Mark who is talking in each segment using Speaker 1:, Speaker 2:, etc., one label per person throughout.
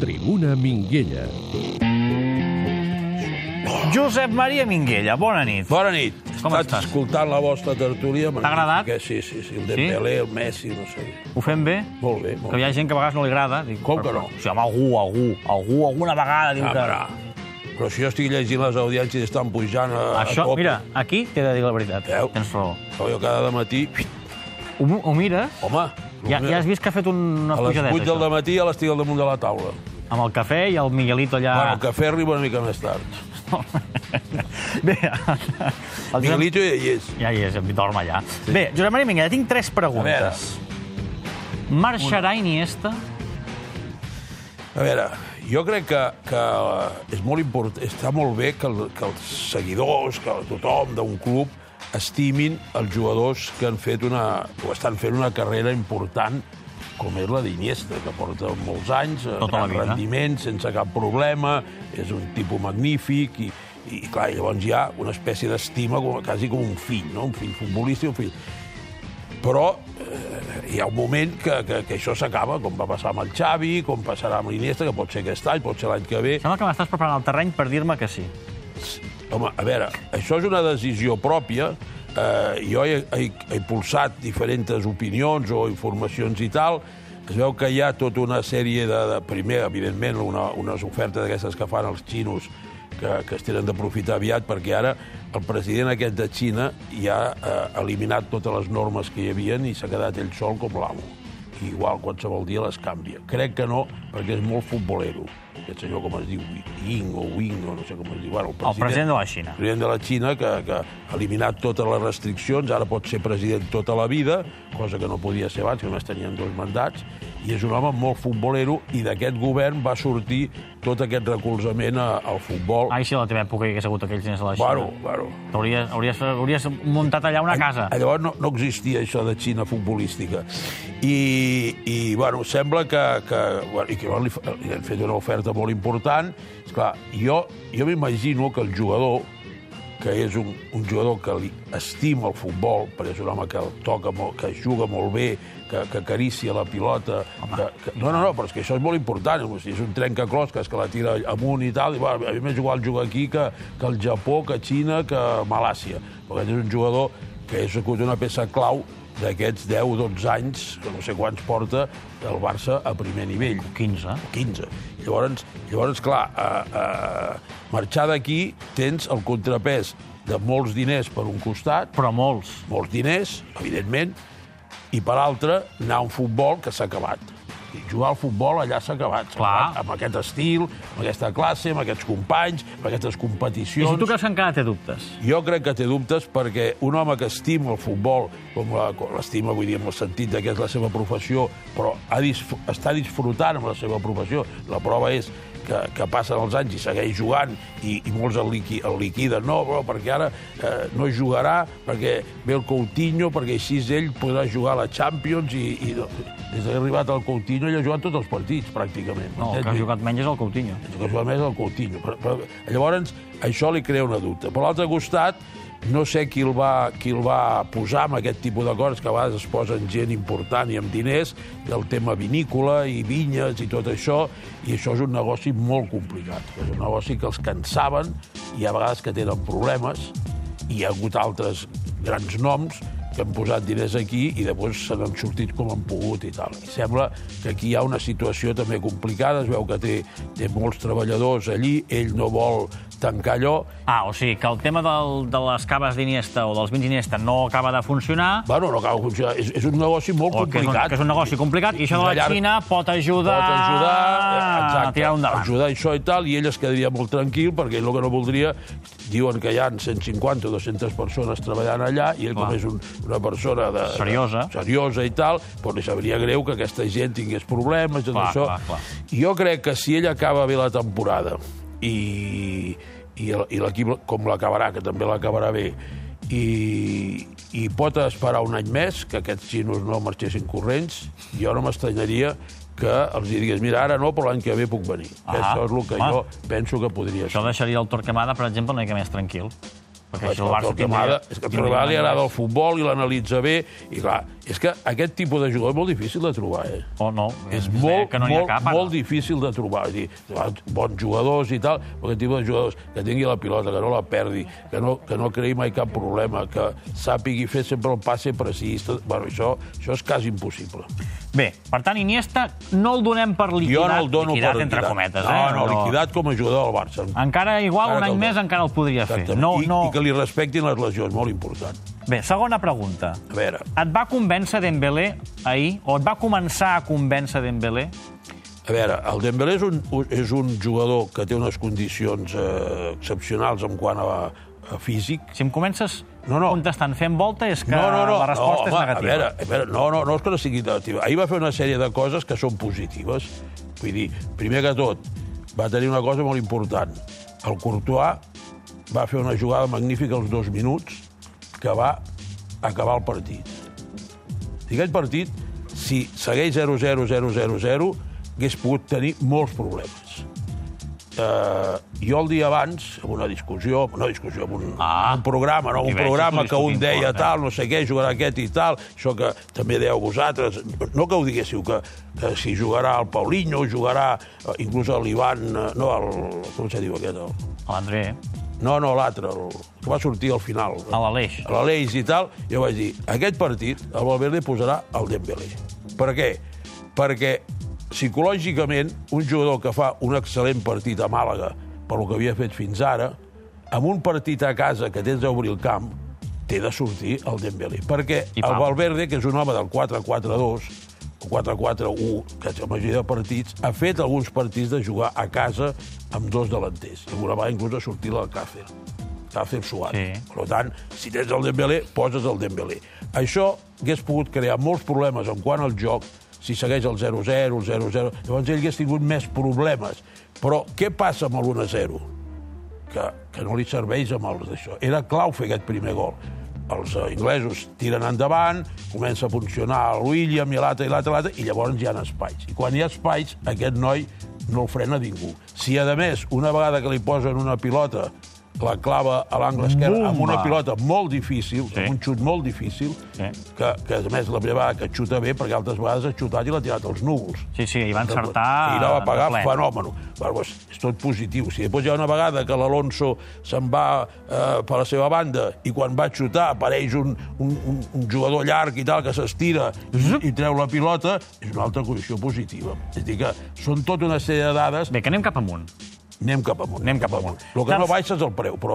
Speaker 1: Tribuna Minguella.
Speaker 2: Josep Maria Minguella, bona nit.
Speaker 3: Bona nit.
Speaker 2: Com
Speaker 3: Estàs
Speaker 2: estàs?
Speaker 3: escoltant la vostra tertúlia.
Speaker 2: T'ha agradat?
Speaker 3: Que sí, sí, sí. El Dembélé, el Messi, no sé.
Speaker 2: Ho fem bé?
Speaker 3: Molt bé, molt
Speaker 2: Que hi
Speaker 3: bé.
Speaker 2: ha gent que a vegades no li agrada. Dic,
Speaker 3: Com
Speaker 2: però-
Speaker 3: que no?
Speaker 2: O sigui, home, algú, algú, algú, alguna vegada diu
Speaker 3: Ah,
Speaker 2: que...
Speaker 3: però, però si jo estic llegint les audiències estan pujant a, a
Speaker 2: Això,
Speaker 3: tope.
Speaker 2: mira, aquí t'he de dir la veritat.
Speaker 3: Veu?
Speaker 2: Tens raó.
Speaker 3: Però jo cada matí...
Speaker 2: Ho, ho mires,
Speaker 3: Home,
Speaker 2: ja, ja has vist que ha fet un- una
Speaker 3: a les
Speaker 2: pujadeta,
Speaker 3: 8 del matí ja l'estic al damunt de la taula.
Speaker 2: Amb el cafè i el Miguelito allà...
Speaker 3: Ah. Bueno, el cafè arriba una mica més tard.
Speaker 2: Doncs Bé, el Josep...
Speaker 3: Miguelito ja hi és.
Speaker 2: Ja hi és, dorm allà. Sí. Bé, Josep Maria Minguella, tinc tres preguntes. Marxarà Iniesta?
Speaker 3: A veure, jo crec que, que és molt important, està molt bé que, el, que els seguidors, que tothom d'un club estimin els jugadors que han fet una, o estan fent una carrera important com és la d'Iniesta, que porta molts anys, eh,
Speaker 2: Tota la
Speaker 3: gran
Speaker 2: vida.
Speaker 3: rendiment, sense cap problema, és un tipus magnífic i, i clar, llavors hi ha una espècie d'estima com, quasi com un fill, no? un fill futbolista i un fill però eh, hi ha un moment que, que, que això s'acaba, com va passar amb el Xavi, com passarà amb l'Iniesta, que pot ser aquest any, pot ser l'any que ve.
Speaker 2: Sembla que m'estàs preparant el terreny per dir-me que sí.
Speaker 3: Home, a veure, això és una decisió pròpia. Eh, jo he, he, he impulsat diferents opinions o informacions i tal. Es veu que hi ha tota una sèrie de... de primer, evidentment, una, unes ofertes d'aquestes que fan els xinos que, que es tenen d'aprofitar aviat, perquè ara el president aquest de Xina ja ha eh, eliminat totes les normes que hi havien i s'ha quedat ell sol com l'amo. I igual, qualsevol dia les canvia. Crec que no, perquè és molt futbolero. Aquest senyor, com es diu, Ying o Wing, o no sé com es diu. Bueno,
Speaker 2: El president de la Xina.
Speaker 3: president de la Xina, que, que ha eliminat totes les restriccions, ara pot ser president tota la vida, cosa que no podia ser abans, que només tenien dos mandats, i és un home molt futbolero, i d'aquest govern va sortir tot aquest recolzament a, al futbol.
Speaker 2: Ai, si a la teva època hi hagués hagut aquells nens a la Xina.
Speaker 3: Bueno, bueno.
Speaker 2: Hauries, hauries, hauries muntat allà una casa.
Speaker 3: Ah, Llavors no, no existia això de Xina futbolística. I, i bueno, sembla que... que bueno, i que llavors li, fa- li han fet una oferta molt important. Esclar, jo, jo m'imagino que el jugador, que és un, un jugador que li estima el futbol, perquè és un home que el toca molt, que juga molt bé, que, que acaricia la pilota... Que, que, no, no, no, però és que això és molt important. O sigui, és un trencaclosques que la tira amunt i tal. I, bueno, a mi m'és igual jugar aquí que, que el Japó, que Xina, que Malàcia. Però aquest és un jugador que és sigut una peça clau d'aquests 10-12 anys, que no sé quants porta, el Barça a primer nivell,
Speaker 2: 15.
Speaker 3: 15. Llavors, llavors clar, a, a marxar d'aquí tens el contrapès de molts diners per un costat,
Speaker 2: Però molts.
Speaker 3: molts diners, evidentment, i per altre, anar a un futbol que s'ha acabat. I Jugar al futbol allà s'ha acabat. S'ha
Speaker 2: Clar.
Speaker 3: acabat Amb aquest estil, amb aquesta classe, amb aquests companys, amb aquestes
Speaker 2: I
Speaker 3: competicions...
Speaker 2: si tu creus que encara té dubtes?
Speaker 3: Jo crec que té dubtes perquè un home que estima el futbol, com la- com l'estima, vull dir, en el sentit de que és la seva professió, però ha disf està disfrutant amb la seva professió, la prova és que, que passen els anys i segueix jugant i, i molts el, liqui, el liquiden. No, però perquè ara eh, no jugarà, perquè ve el Coutinho, perquè així ell podrà jugar a la Champions i, i no. des que ha arribat al Coutinho ell ha jugat tots els partits, pràcticament.
Speaker 2: No, el que ha
Speaker 3: Entens?
Speaker 2: jugat menys és el Coutinho.
Speaker 3: El que es va més el Coutinho. Però, però, llavors, això li crea una dubte. Per l'altre costat, no sé qui el, va, qui el va posar amb aquest tipus de coses, que a vegades es posen gent important i amb diners, del tema vinícola i vinyes i tot això, i això és un negoci molt complicat. És un negoci que els cansaven, i a vegades que tenen problemes, i hi ha hagut altres grans noms que han posat diners aquí i després se n'han sortit com han pogut i tal. I sembla que aquí hi ha una situació també complicada, es veu que té, té molts treballadors allí, ell no vol tancar allò.
Speaker 2: Ah, o sigui, que el tema del, de les caves d'Iniesta o dels vins d'Iniesta no acaba de funcionar,
Speaker 3: Bueno, no acaba de funcionar. És, és un negoci molt
Speaker 2: o Oh, que és, un,
Speaker 3: complicat.
Speaker 2: que és un negoci complicat, i això de la
Speaker 3: llarg-
Speaker 2: Xina pot ajudar,
Speaker 3: Pot ajudar,
Speaker 2: a tirar-ho endavant.
Speaker 3: ajudar això i tal, i ell es quedaria molt tranquil, perquè el que no voldria, diuen que hi ha 150 o 200 persones treballant allà, i ell,
Speaker 2: Clar.
Speaker 3: com és un, una persona de,
Speaker 2: Seriosa.
Speaker 3: De, seriosa i tal, doncs li sabria greu que aquesta gent tingués problemes, tot
Speaker 2: Clar,
Speaker 3: això.
Speaker 2: clar, clar.
Speaker 3: Jo crec que si ell acaba bé la temporada, i, i el- i l'equip com l'acabarà, que també l'acabarà bé, i, i pot esperar un any més que aquests xinos no marxessin corrents, jo no m'estranyaria que els hi digués, mira, ara no, però l'any que ve puc venir.
Speaker 2: Ah,
Speaker 3: Això és el que
Speaker 2: home.
Speaker 3: jo penso que podria
Speaker 2: Això
Speaker 3: ser.
Speaker 2: deixaria el Torquemada, per exemple, una mica més tranquil. Perquè això el Barça
Speaker 3: que m'agrada-
Speaker 2: tindria-
Speaker 3: és que a Torrevall li
Speaker 2: tindria-
Speaker 3: agrada el futbol i l'analitza bé. I clar, és que aquest tipus de jugador és molt difícil de trobar, eh?
Speaker 2: O no.
Speaker 3: És
Speaker 2: deia
Speaker 3: molt,
Speaker 2: que no n'hi ha
Speaker 3: molt,
Speaker 2: cap, ara.
Speaker 3: molt difícil de trobar. És a dir, trobar bons jugadors i tal, però aquest tipus de jugadors que tingui la pilota, que no la perdi, que no, que no creï mai cap problema, que sàpigui fer sempre el passe precís... Tot, bueno, això, això és quasi impossible.
Speaker 2: Bé, per tant, Iniesta no el donem per liquidat.
Speaker 3: jo no el dono
Speaker 2: liquidat,
Speaker 3: per
Speaker 2: entre cometes,
Speaker 3: no,
Speaker 2: eh?
Speaker 3: No, no, liquidat com a jugador del Barça.
Speaker 2: Encara igual,
Speaker 3: Encara
Speaker 2: un any
Speaker 3: que el-
Speaker 2: més encara el podria fer.
Speaker 3: Exactament.
Speaker 2: No,
Speaker 3: I,
Speaker 2: no.
Speaker 3: I que li respectin les lesions, molt important.
Speaker 2: Bé, segona pregunta.
Speaker 3: A veure,
Speaker 2: Et va convèncer Dembélé ahir, o et va començar a convèncer Dembélé?
Speaker 3: a veure, el Dembélé és un, un- és un jugador que té unes condicions eh, excepcionals en quant a, a físic.
Speaker 2: Si em comences
Speaker 3: No, no.
Speaker 2: contestant fent volta, és que
Speaker 3: no, no, no,
Speaker 2: la resposta
Speaker 3: no,
Speaker 2: és
Speaker 3: home,
Speaker 2: negativa.
Speaker 3: A veure, a veure, no, no, no és que no sigui negativa. Ahir va fer una sèrie de coses que són positives. Vull dir, primer que tot, va tenir una cosa molt important. El Courtois va fer una jugada magnífica als dos minuts que va acabar el partit. I aquest partit, si segueix 0-0-0-0-0, hagués pogut tenir molts problemes. Eh, jo el dia abans, en una discussió, no discussió, en un,
Speaker 2: Ah.
Speaker 3: ah, un programa, no, un
Speaker 2: Diversos
Speaker 3: programa que un
Speaker 2: discutint eh?
Speaker 3: deia
Speaker 2: coses.
Speaker 3: tal, no sé què, jugarà aquest i tal, això que també deieu vosaltres, no que ho diguéssiu, que, que si jugarà el Paulinho, jugarà eh, inclús l'Ivan, eh, no, el, com se diu aquest, el,
Speaker 2: L'André,
Speaker 3: no, no, l'altre, el que va sortir al final.
Speaker 2: a l'Aleix.
Speaker 3: A l'Aleix i tal, jo vaig dir, aquest partit el Valverde posarà el Dembélé. Per què? Perquè psicològicament un jugador que fa un excel·lent partit a Màlaga per lo que havia fet fins ara, amb un partit a casa que tens a obrir el camp, té de sortir el Dembélé. Perquè
Speaker 2: I
Speaker 3: el
Speaker 2: pam.
Speaker 3: Valverde, que és un home del 4-4-2, o 4-4-1, que és la majoria de partits, ha fet alguns partits de jugar a casa amb dos delanters. I alguna vegada inclús ha sortit l'Alcácer. Alcácer Suárez.
Speaker 2: Sí.
Speaker 3: Sí. Per tant, si tens el Dembélé, poses el Dembélé. Això hagués pogut crear molts problemes en quant al joc, si segueix el 0-0, el 0-0... Llavors ell hagués tingut més problemes. Però què passa amb l'1-0? Que, que no li serveix amb els d'això. Era clau fer aquest primer gol. Els eh, inglesos tiren endavant, comença a funcionar el William i l'altre, i l'altre, i l'altre, i llavors hi ha espais. I quan hi ha espais, aquest noi no el frena ningú. Si, a més, una vegada que li posen una pilota, la clava a l'angle esquerre amb una
Speaker 2: Bumba!
Speaker 3: pilota pilota molt difícil,
Speaker 2: Sí.
Speaker 3: sí. un xut molt difícil,
Speaker 2: Sí.
Speaker 3: sí. que, que a més la primera vegada que xuta bé, perquè altres vegades ha xutat i l'ha tirat als núvols.
Speaker 2: Sí, sí, hi va encertar...
Speaker 3: I la va pagar
Speaker 2: de ple.
Speaker 3: fenomen. Però, doncs, és tot positiu. Si després hi ha una vegada que l'Alonso se'n va eh, per la seva banda i quan va xutar apareix un, un, un, un jugador llarg i tal que s'estira i, i treu la pilota, és una altra condició positiva. És a dir, que són tota una sèrie de dades
Speaker 2: Bé, que anem cap amunt.
Speaker 3: Anem cap amunt.
Speaker 2: Anem cap amunt.
Speaker 3: El que
Speaker 2: Saps-
Speaker 3: no baixa és el preu, però,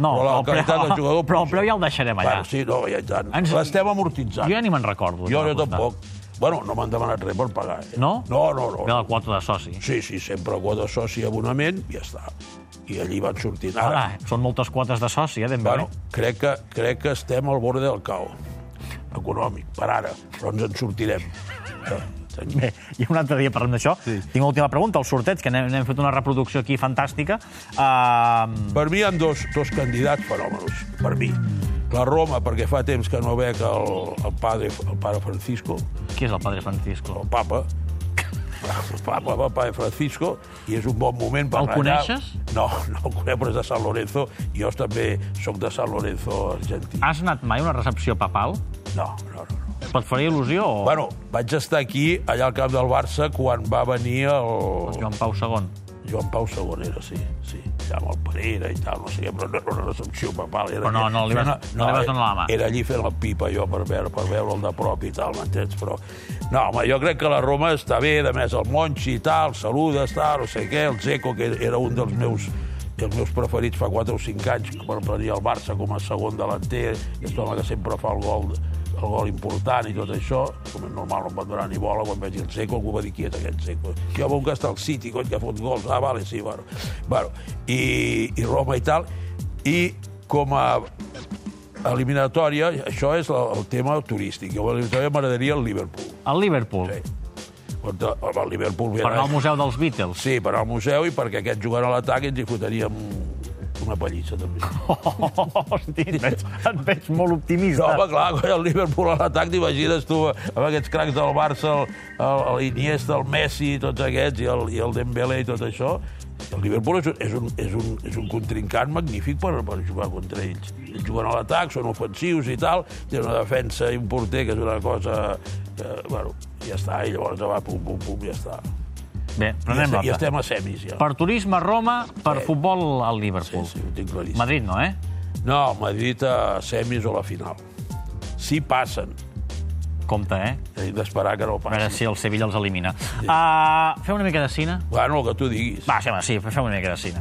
Speaker 2: No,
Speaker 3: però la
Speaker 2: el
Speaker 3: qualitat
Speaker 2: preu-
Speaker 3: del jugador...
Speaker 2: però el
Speaker 3: puja.
Speaker 2: preu ja el deixarem allà.
Speaker 3: Bueno, sí, no, ja, ja.
Speaker 2: Ens-
Speaker 3: Ens... L'estem amortitzant.
Speaker 2: Jo ja ni me'n recordo.
Speaker 3: Jo,
Speaker 2: de
Speaker 3: jo
Speaker 2: la quota.
Speaker 3: tampoc. Bueno, no m'han demanat res per pagar. Eh?
Speaker 2: No?
Speaker 3: No, no, no.
Speaker 2: Ve la quota de soci.
Speaker 3: Sí, sí, sempre quota soci i abonament, i ja està. I allí van sortint. Ara,
Speaker 2: Ara, Ah, són moltes quotes de soci, eh, Dembélé?
Speaker 3: bueno, crec, que, crec que estem al borde del cau econòmic, per ara, però ens en sortirem. Eh,
Speaker 2: Bé, i un altre dia parlem d'això. Sí. Tinc una última pregunta, el sorteig, que n'hem n'hem fet una reproducció aquí fantàstica. Uh,
Speaker 3: Per mi hi ha dos, dos candidats fenòmenos, per mi. La Roma, perquè fa temps que no veig el, el, padre, el pare Francisco,
Speaker 2: qui és el padre Francisco?
Speaker 3: el papa, el papa, el pare Francisco, i és un bon moment per
Speaker 2: El
Speaker 3: anar
Speaker 2: coneixes?
Speaker 3: allà. No, no el conec, però és de San Lorenzo, i jo també sóc de San Lorenzo, argentí.
Speaker 2: Has anat mai a una recepció papal?
Speaker 3: No, no, no. no.
Speaker 2: Et faria il·lusió o bueno,
Speaker 3: Bueno, vaig estar aquí, allà al camp del Barça, quan va venir el...
Speaker 2: Joan Pau II?
Speaker 3: Joan Pau II era, sí, sí. Allà amb el Pereira i tal, no sé què, però no era una recepció papal. Era
Speaker 2: Però no, no li vas- no li vas donar la mà.
Speaker 3: Era allí fent la pipa jo per veure, per veure'l de prop i tal, m'entens? Però, no, home, jo crec que la Roma està bé, de més el Monchi i tal, saludes, tal, no sé què, el Zeco, que era un dels meus dels meus preferits fa 4 o 5 anys per venir al Barça com a segon delanter, i és l'home que sempre fa el gol, el gol important i tot això, com és normal, no em van donar ni bola, quan vaig dir el Seco, algú va dir qui és aquest Seco. Jo veig que està al City, cony, que fot gols. Ah, vale, sí, bueno. bueno i, I Roma i tal. I com a eliminatòria, això és la, el tema turístic. Jo a l'eliminatòria m'agradaria el Liverpool.
Speaker 2: El Liverpool, sí.
Speaker 3: Contra, home, el Liverpool ve
Speaker 2: per anar al Museu dels Beatles.
Speaker 3: Sí, per anar al museu i perquè aquest jugant a l'atac ens hi fotaríem una pallissa, també.
Speaker 2: Oh, hosti, et veig, et veig molt
Speaker 3: No,
Speaker 2: optimista.
Speaker 3: home, clar, coi, el Liverpool a l'atac, t'imagines tu, amb aquests cracs del Barça, el- el- l'Iniesta, el, Messi, tots aquests, i el, i el Dembélé i tot això, El Liverpool és, un- és, un, és, un, és un contrincant magnífic per, per jugar contra ells. Ells juguen a l'atac, són ofensius i tal, té una defensa i un porter que és una cosa... Que, bueno, ja està, i llavors va pum, pum, pum, ja està.
Speaker 2: Bé,
Speaker 3: I,
Speaker 2: prenem
Speaker 3: este- I
Speaker 2: nota.
Speaker 3: estem a semis, ja.
Speaker 2: Per turisme a Roma, per futbol al
Speaker 3: Sí,
Speaker 2: Liverpool.
Speaker 3: sí, ho tinc claríssim.
Speaker 2: Madrid no, eh?
Speaker 3: No, Madrid a semis o a la final. Sí passen.
Speaker 2: Compte, eh?
Speaker 3: Hem d'esperar que no
Speaker 2: A veure
Speaker 3: passin.
Speaker 2: si el Sevilla els elimina. Uh, feu una mica de cine?
Speaker 3: Bueno, el que tu diguis.
Speaker 2: Va, sí, home, sí, fem una mica de cine.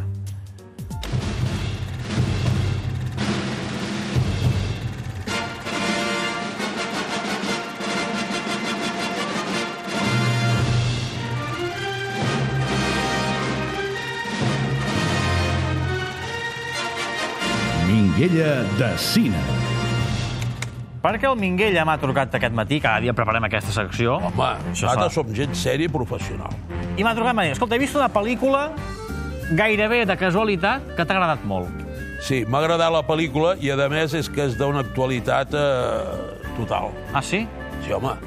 Speaker 1: Minguella de Cine.
Speaker 2: Perquè el Minguella m'ha trucat aquest matí, cada dia preparem aquesta secció,
Speaker 3: Home,
Speaker 2: Això
Speaker 3: nosaltres
Speaker 2: fa.
Speaker 3: som gent sèria i professional.
Speaker 2: i m'ha trucat i m'ha dit, escolta, he vist una pel·lícula gairebé de casualitat que t'ha agradat molt.
Speaker 3: Sí, m'ha agradat la pel·lícula i, a més, és que és d'una actualitat eh, total.
Speaker 2: Ah, sí?
Speaker 3: Sí, home,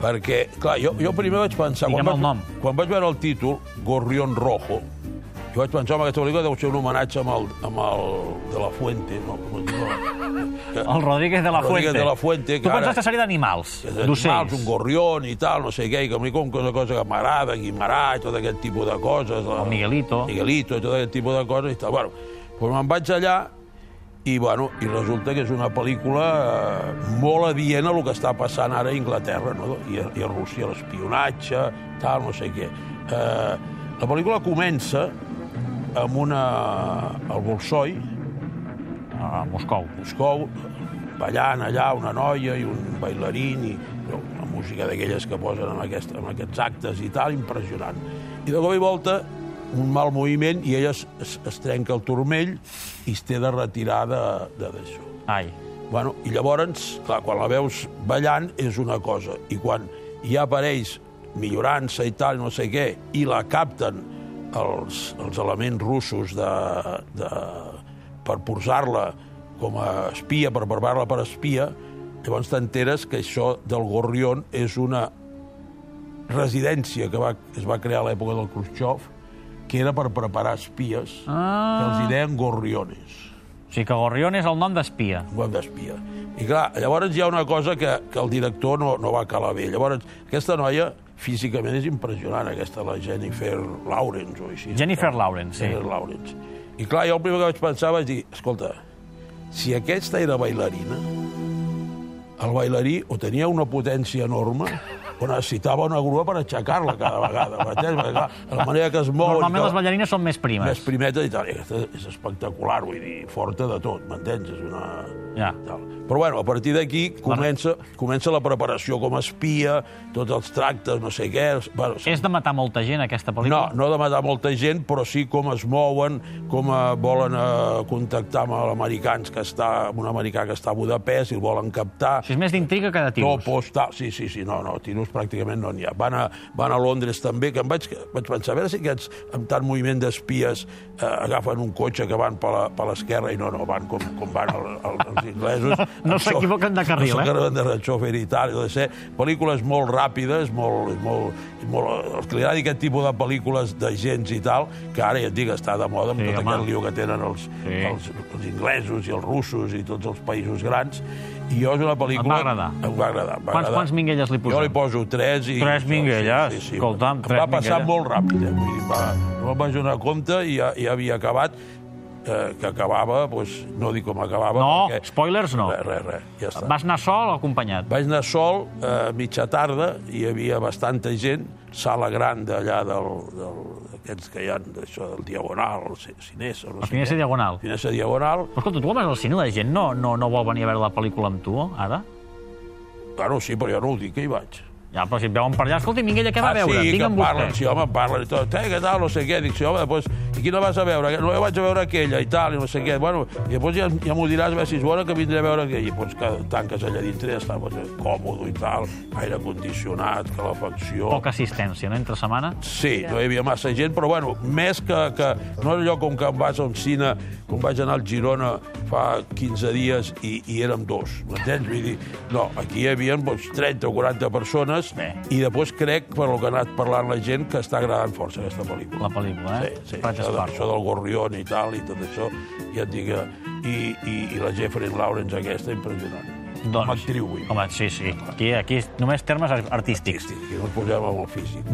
Speaker 3: perquè, clar, jo, jo primer vaig pensar...
Speaker 2: Digue'm
Speaker 3: quan
Speaker 2: el
Speaker 3: vaig,
Speaker 2: nom.
Speaker 3: Quan vaig veure el títol, Gorrión Rojo, jo vaig pensar, home, aquesta pel·lícula deu ser un homenatge amb el, amb el de la Fuente, no? Com es diu? Que-
Speaker 2: El Rodríguez de la Fuente.
Speaker 3: Rodríguez de la Fuente,
Speaker 2: tu
Speaker 3: que ara-
Speaker 2: penses que seria d'animals,
Speaker 3: animals, un
Speaker 2: d'ocells.
Speaker 3: gorrión i tal, no sé què, i que a mi com que és una cosa que m'agrada, Guimarà i tot aquest tipus de coses. El
Speaker 2: Miguelito.
Speaker 3: Miguelito i tot aquest tipus de coses. I tal. Bueno, doncs me'n vaig allà i, bueno, i resulta que és una pel·lícula eh, molt adient a el que està passant ara a Inglaterra no? I, a, i a Rússia, l'espionatge, tal, no sé què. Eh, la pel·lícula comença amb una... el Bolsoi,
Speaker 2: A Ah, Moscou.
Speaker 3: Moscou, ballant allà una noia i un bailarín i no, una música d'aquelles que posen en, aquest, en aquests actes i tal, impressionant. I de cop i volta, un mal moviment i ella es, es, es trenca el turmell i es té de retirar de de d'això.
Speaker 2: Ai.
Speaker 3: Bueno, I llavors, clar, quan la veus ballant és una cosa, i quan ja apareix millorant-se i tal, no sé què, i la capten els, els elements russos de, de, per posar-la com a espia, per preparar-la per espia, llavors t'enteres que això del Gorrión és una residència que va, es va crear a l'època del Khrushchev, que era per preparar espies, ah. que els hi deien gorriones
Speaker 2: O sigui que Gorrión és el nom d'espia.
Speaker 3: web d'espia. I clar, llavors hi ha una cosa que, que el director no, no va calar bé. Llavors, aquesta noia físicament és impressionant, aquesta, la Jennifer Lawrence o així.
Speaker 2: Jennifer Lawrence, sí.
Speaker 3: Jennifer Lawrence. I clar, jo el primer que vaig pensar vaig dir, escolta, si aquesta era bailarina, el bailarí o tenia una potència enorme o necessitava una grua per aixecar-la cada vegada. m'entens? Perquè, clar, la manera que es mou... i
Speaker 2: Normalment
Speaker 3: que-
Speaker 2: les ballarines són més
Speaker 3: Oh, més
Speaker 2: primes.
Speaker 3: primeta i tal. I aquesta és espectacular, vull dir, forta de tot, m'entens? És una...
Speaker 2: Ja.
Speaker 3: Tal. Però bueno, a partir d'aquí comença, comença la preparació com a espia, tots els tractes, no sé què... Bueno,
Speaker 2: És de matar molta gent, aquesta
Speaker 3: no,
Speaker 2: pel·lícula?
Speaker 3: no de matar molta gent, però sí com es mouen, com eh, volen eh, contactar amb l'americans que està, amb un americà que està a Budapest i el volen captar.
Speaker 2: O sigui, és més d'intriga que de tiros.
Speaker 3: Topos, tal. Sí, sí, sí, no, no, tiros pràcticament no n'hi ha. Van a, van a Londres també, que em vaig, vaig pensar, a veure si aquests, amb tant moviment d'espies, eh, agafen un cotxe que van per la- per l'esquerra i no, no, van com, com van el, el, els inglesos.
Speaker 2: no
Speaker 3: Amb xo-
Speaker 2: s'equivoquen de carril, eh?
Speaker 3: No s'equivoquen de xòfer i tal. i tot això. Pel·lícules molt ràpides, molt, molt, molt... Els que li agradi aquest tipus de pel·lícules d'agents i tal, que ara ja et dic, està de moda amb
Speaker 2: Sí,
Speaker 3: sí, tot
Speaker 2: home.
Speaker 3: aquest lío que tenen els,
Speaker 2: Sí.
Speaker 3: sí. els, els inglesos i els russos i tots els països grans. I jo és una pel·lícula...
Speaker 2: agradar.
Speaker 3: Em va agradar. em va
Speaker 2: Quants-
Speaker 3: agradar.
Speaker 2: quants minguelles li posem?
Speaker 3: Jo li poso tres. I
Speaker 2: Tres minguelles? Escolta'm,
Speaker 3: Em
Speaker 2: tres
Speaker 3: va passar
Speaker 2: minguelles.
Speaker 3: molt ràpid. Eh? Vull dir, va, no em vaig donar compte i ja, ja havia acabat eh, que acabava, doncs, no dic com acabava.
Speaker 2: No,
Speaker 3: perquè...
Speaker 2: spoilers no.
Speaker 3: Res, res, res, ja està.
Speaker 2: Vas anar sol o acompanyat?
Speaker 3: Vaig anar sol, a eh, mitja tarda, hi havia bastanta gent, sala gran d'allà del, del, d'aquests que hi ha, d'això del Diagonal, el ci- Cinesa, no
Speaker 2: La
Speaker 3: sé
Speaker 2: Finesa Diagonal. Però,
Speaker 3: Cinesa Diagonal.
Speaker 2: escolta, tu quan vas al cine la gent no, no, no vol venir a veure la pel·lícula amb tu, ara?
Speaker 3: Bueno, sí, però jo no ho dic, que hi vaig.
Speaker 2: Ja, però si et veuen per allà, escolta, Minguella, què va
Speaker 3: ah,
Speaker 2: veure?
Speaker 3: sí, que
Speaker 2: Vinga
Speaker 3: em
Speaker 2: amb vostè.
Speaker 3: parlen, sí, home, em parlen i tot. Eh, què tal, no sé què. Dic, sí, home, després, i quina vas a veure? No, jo vaig a veure aquella i tal, i no sé què. Bueno, i després ja, ja m'ho diràs, a veure si és bona, que vindré a veure aquella. I doncs que tanques allà dintre, ja està doncs, còmode i tal, aire condicionat, calefacció...
Speaker 2: Poca assistència, no?, entre setmana.
Speaker 3: Sí, no hi havia massa gent, però bueno, més que... que no és allò com que em vas a un cine, com vaig anar al Girona fa 15 dies i, i érem dos, m'entens? Vull dir, no, aquí hi havia doncs, 30 o 40 persones temes
Speaker 2: Bé.
Speaker 3: i després crec, per el que ha anat parlant la gent, que està agradant força aquesta pel·lícula.
Speaker 2: la pel·lícula, eh?
Speaker 3: Sí, sí,
Speaker 2: Prat
Speaker 3: això, de,
Speaker 2: Espart.
Speaker 3: això del Gorrión i tal, i tot això, ja et dic, que- i, i, i la Jeffrey Lawrence aquesta, impressionant.
Speaker 2: Doncs,
Speaker 3: Com a actriu, vull dir.
Speaker 2: Home, sí, sí. Aquí, aquí només termes ar- artístics.
Speaker 3: Artístic, i no ens posem amb el físic.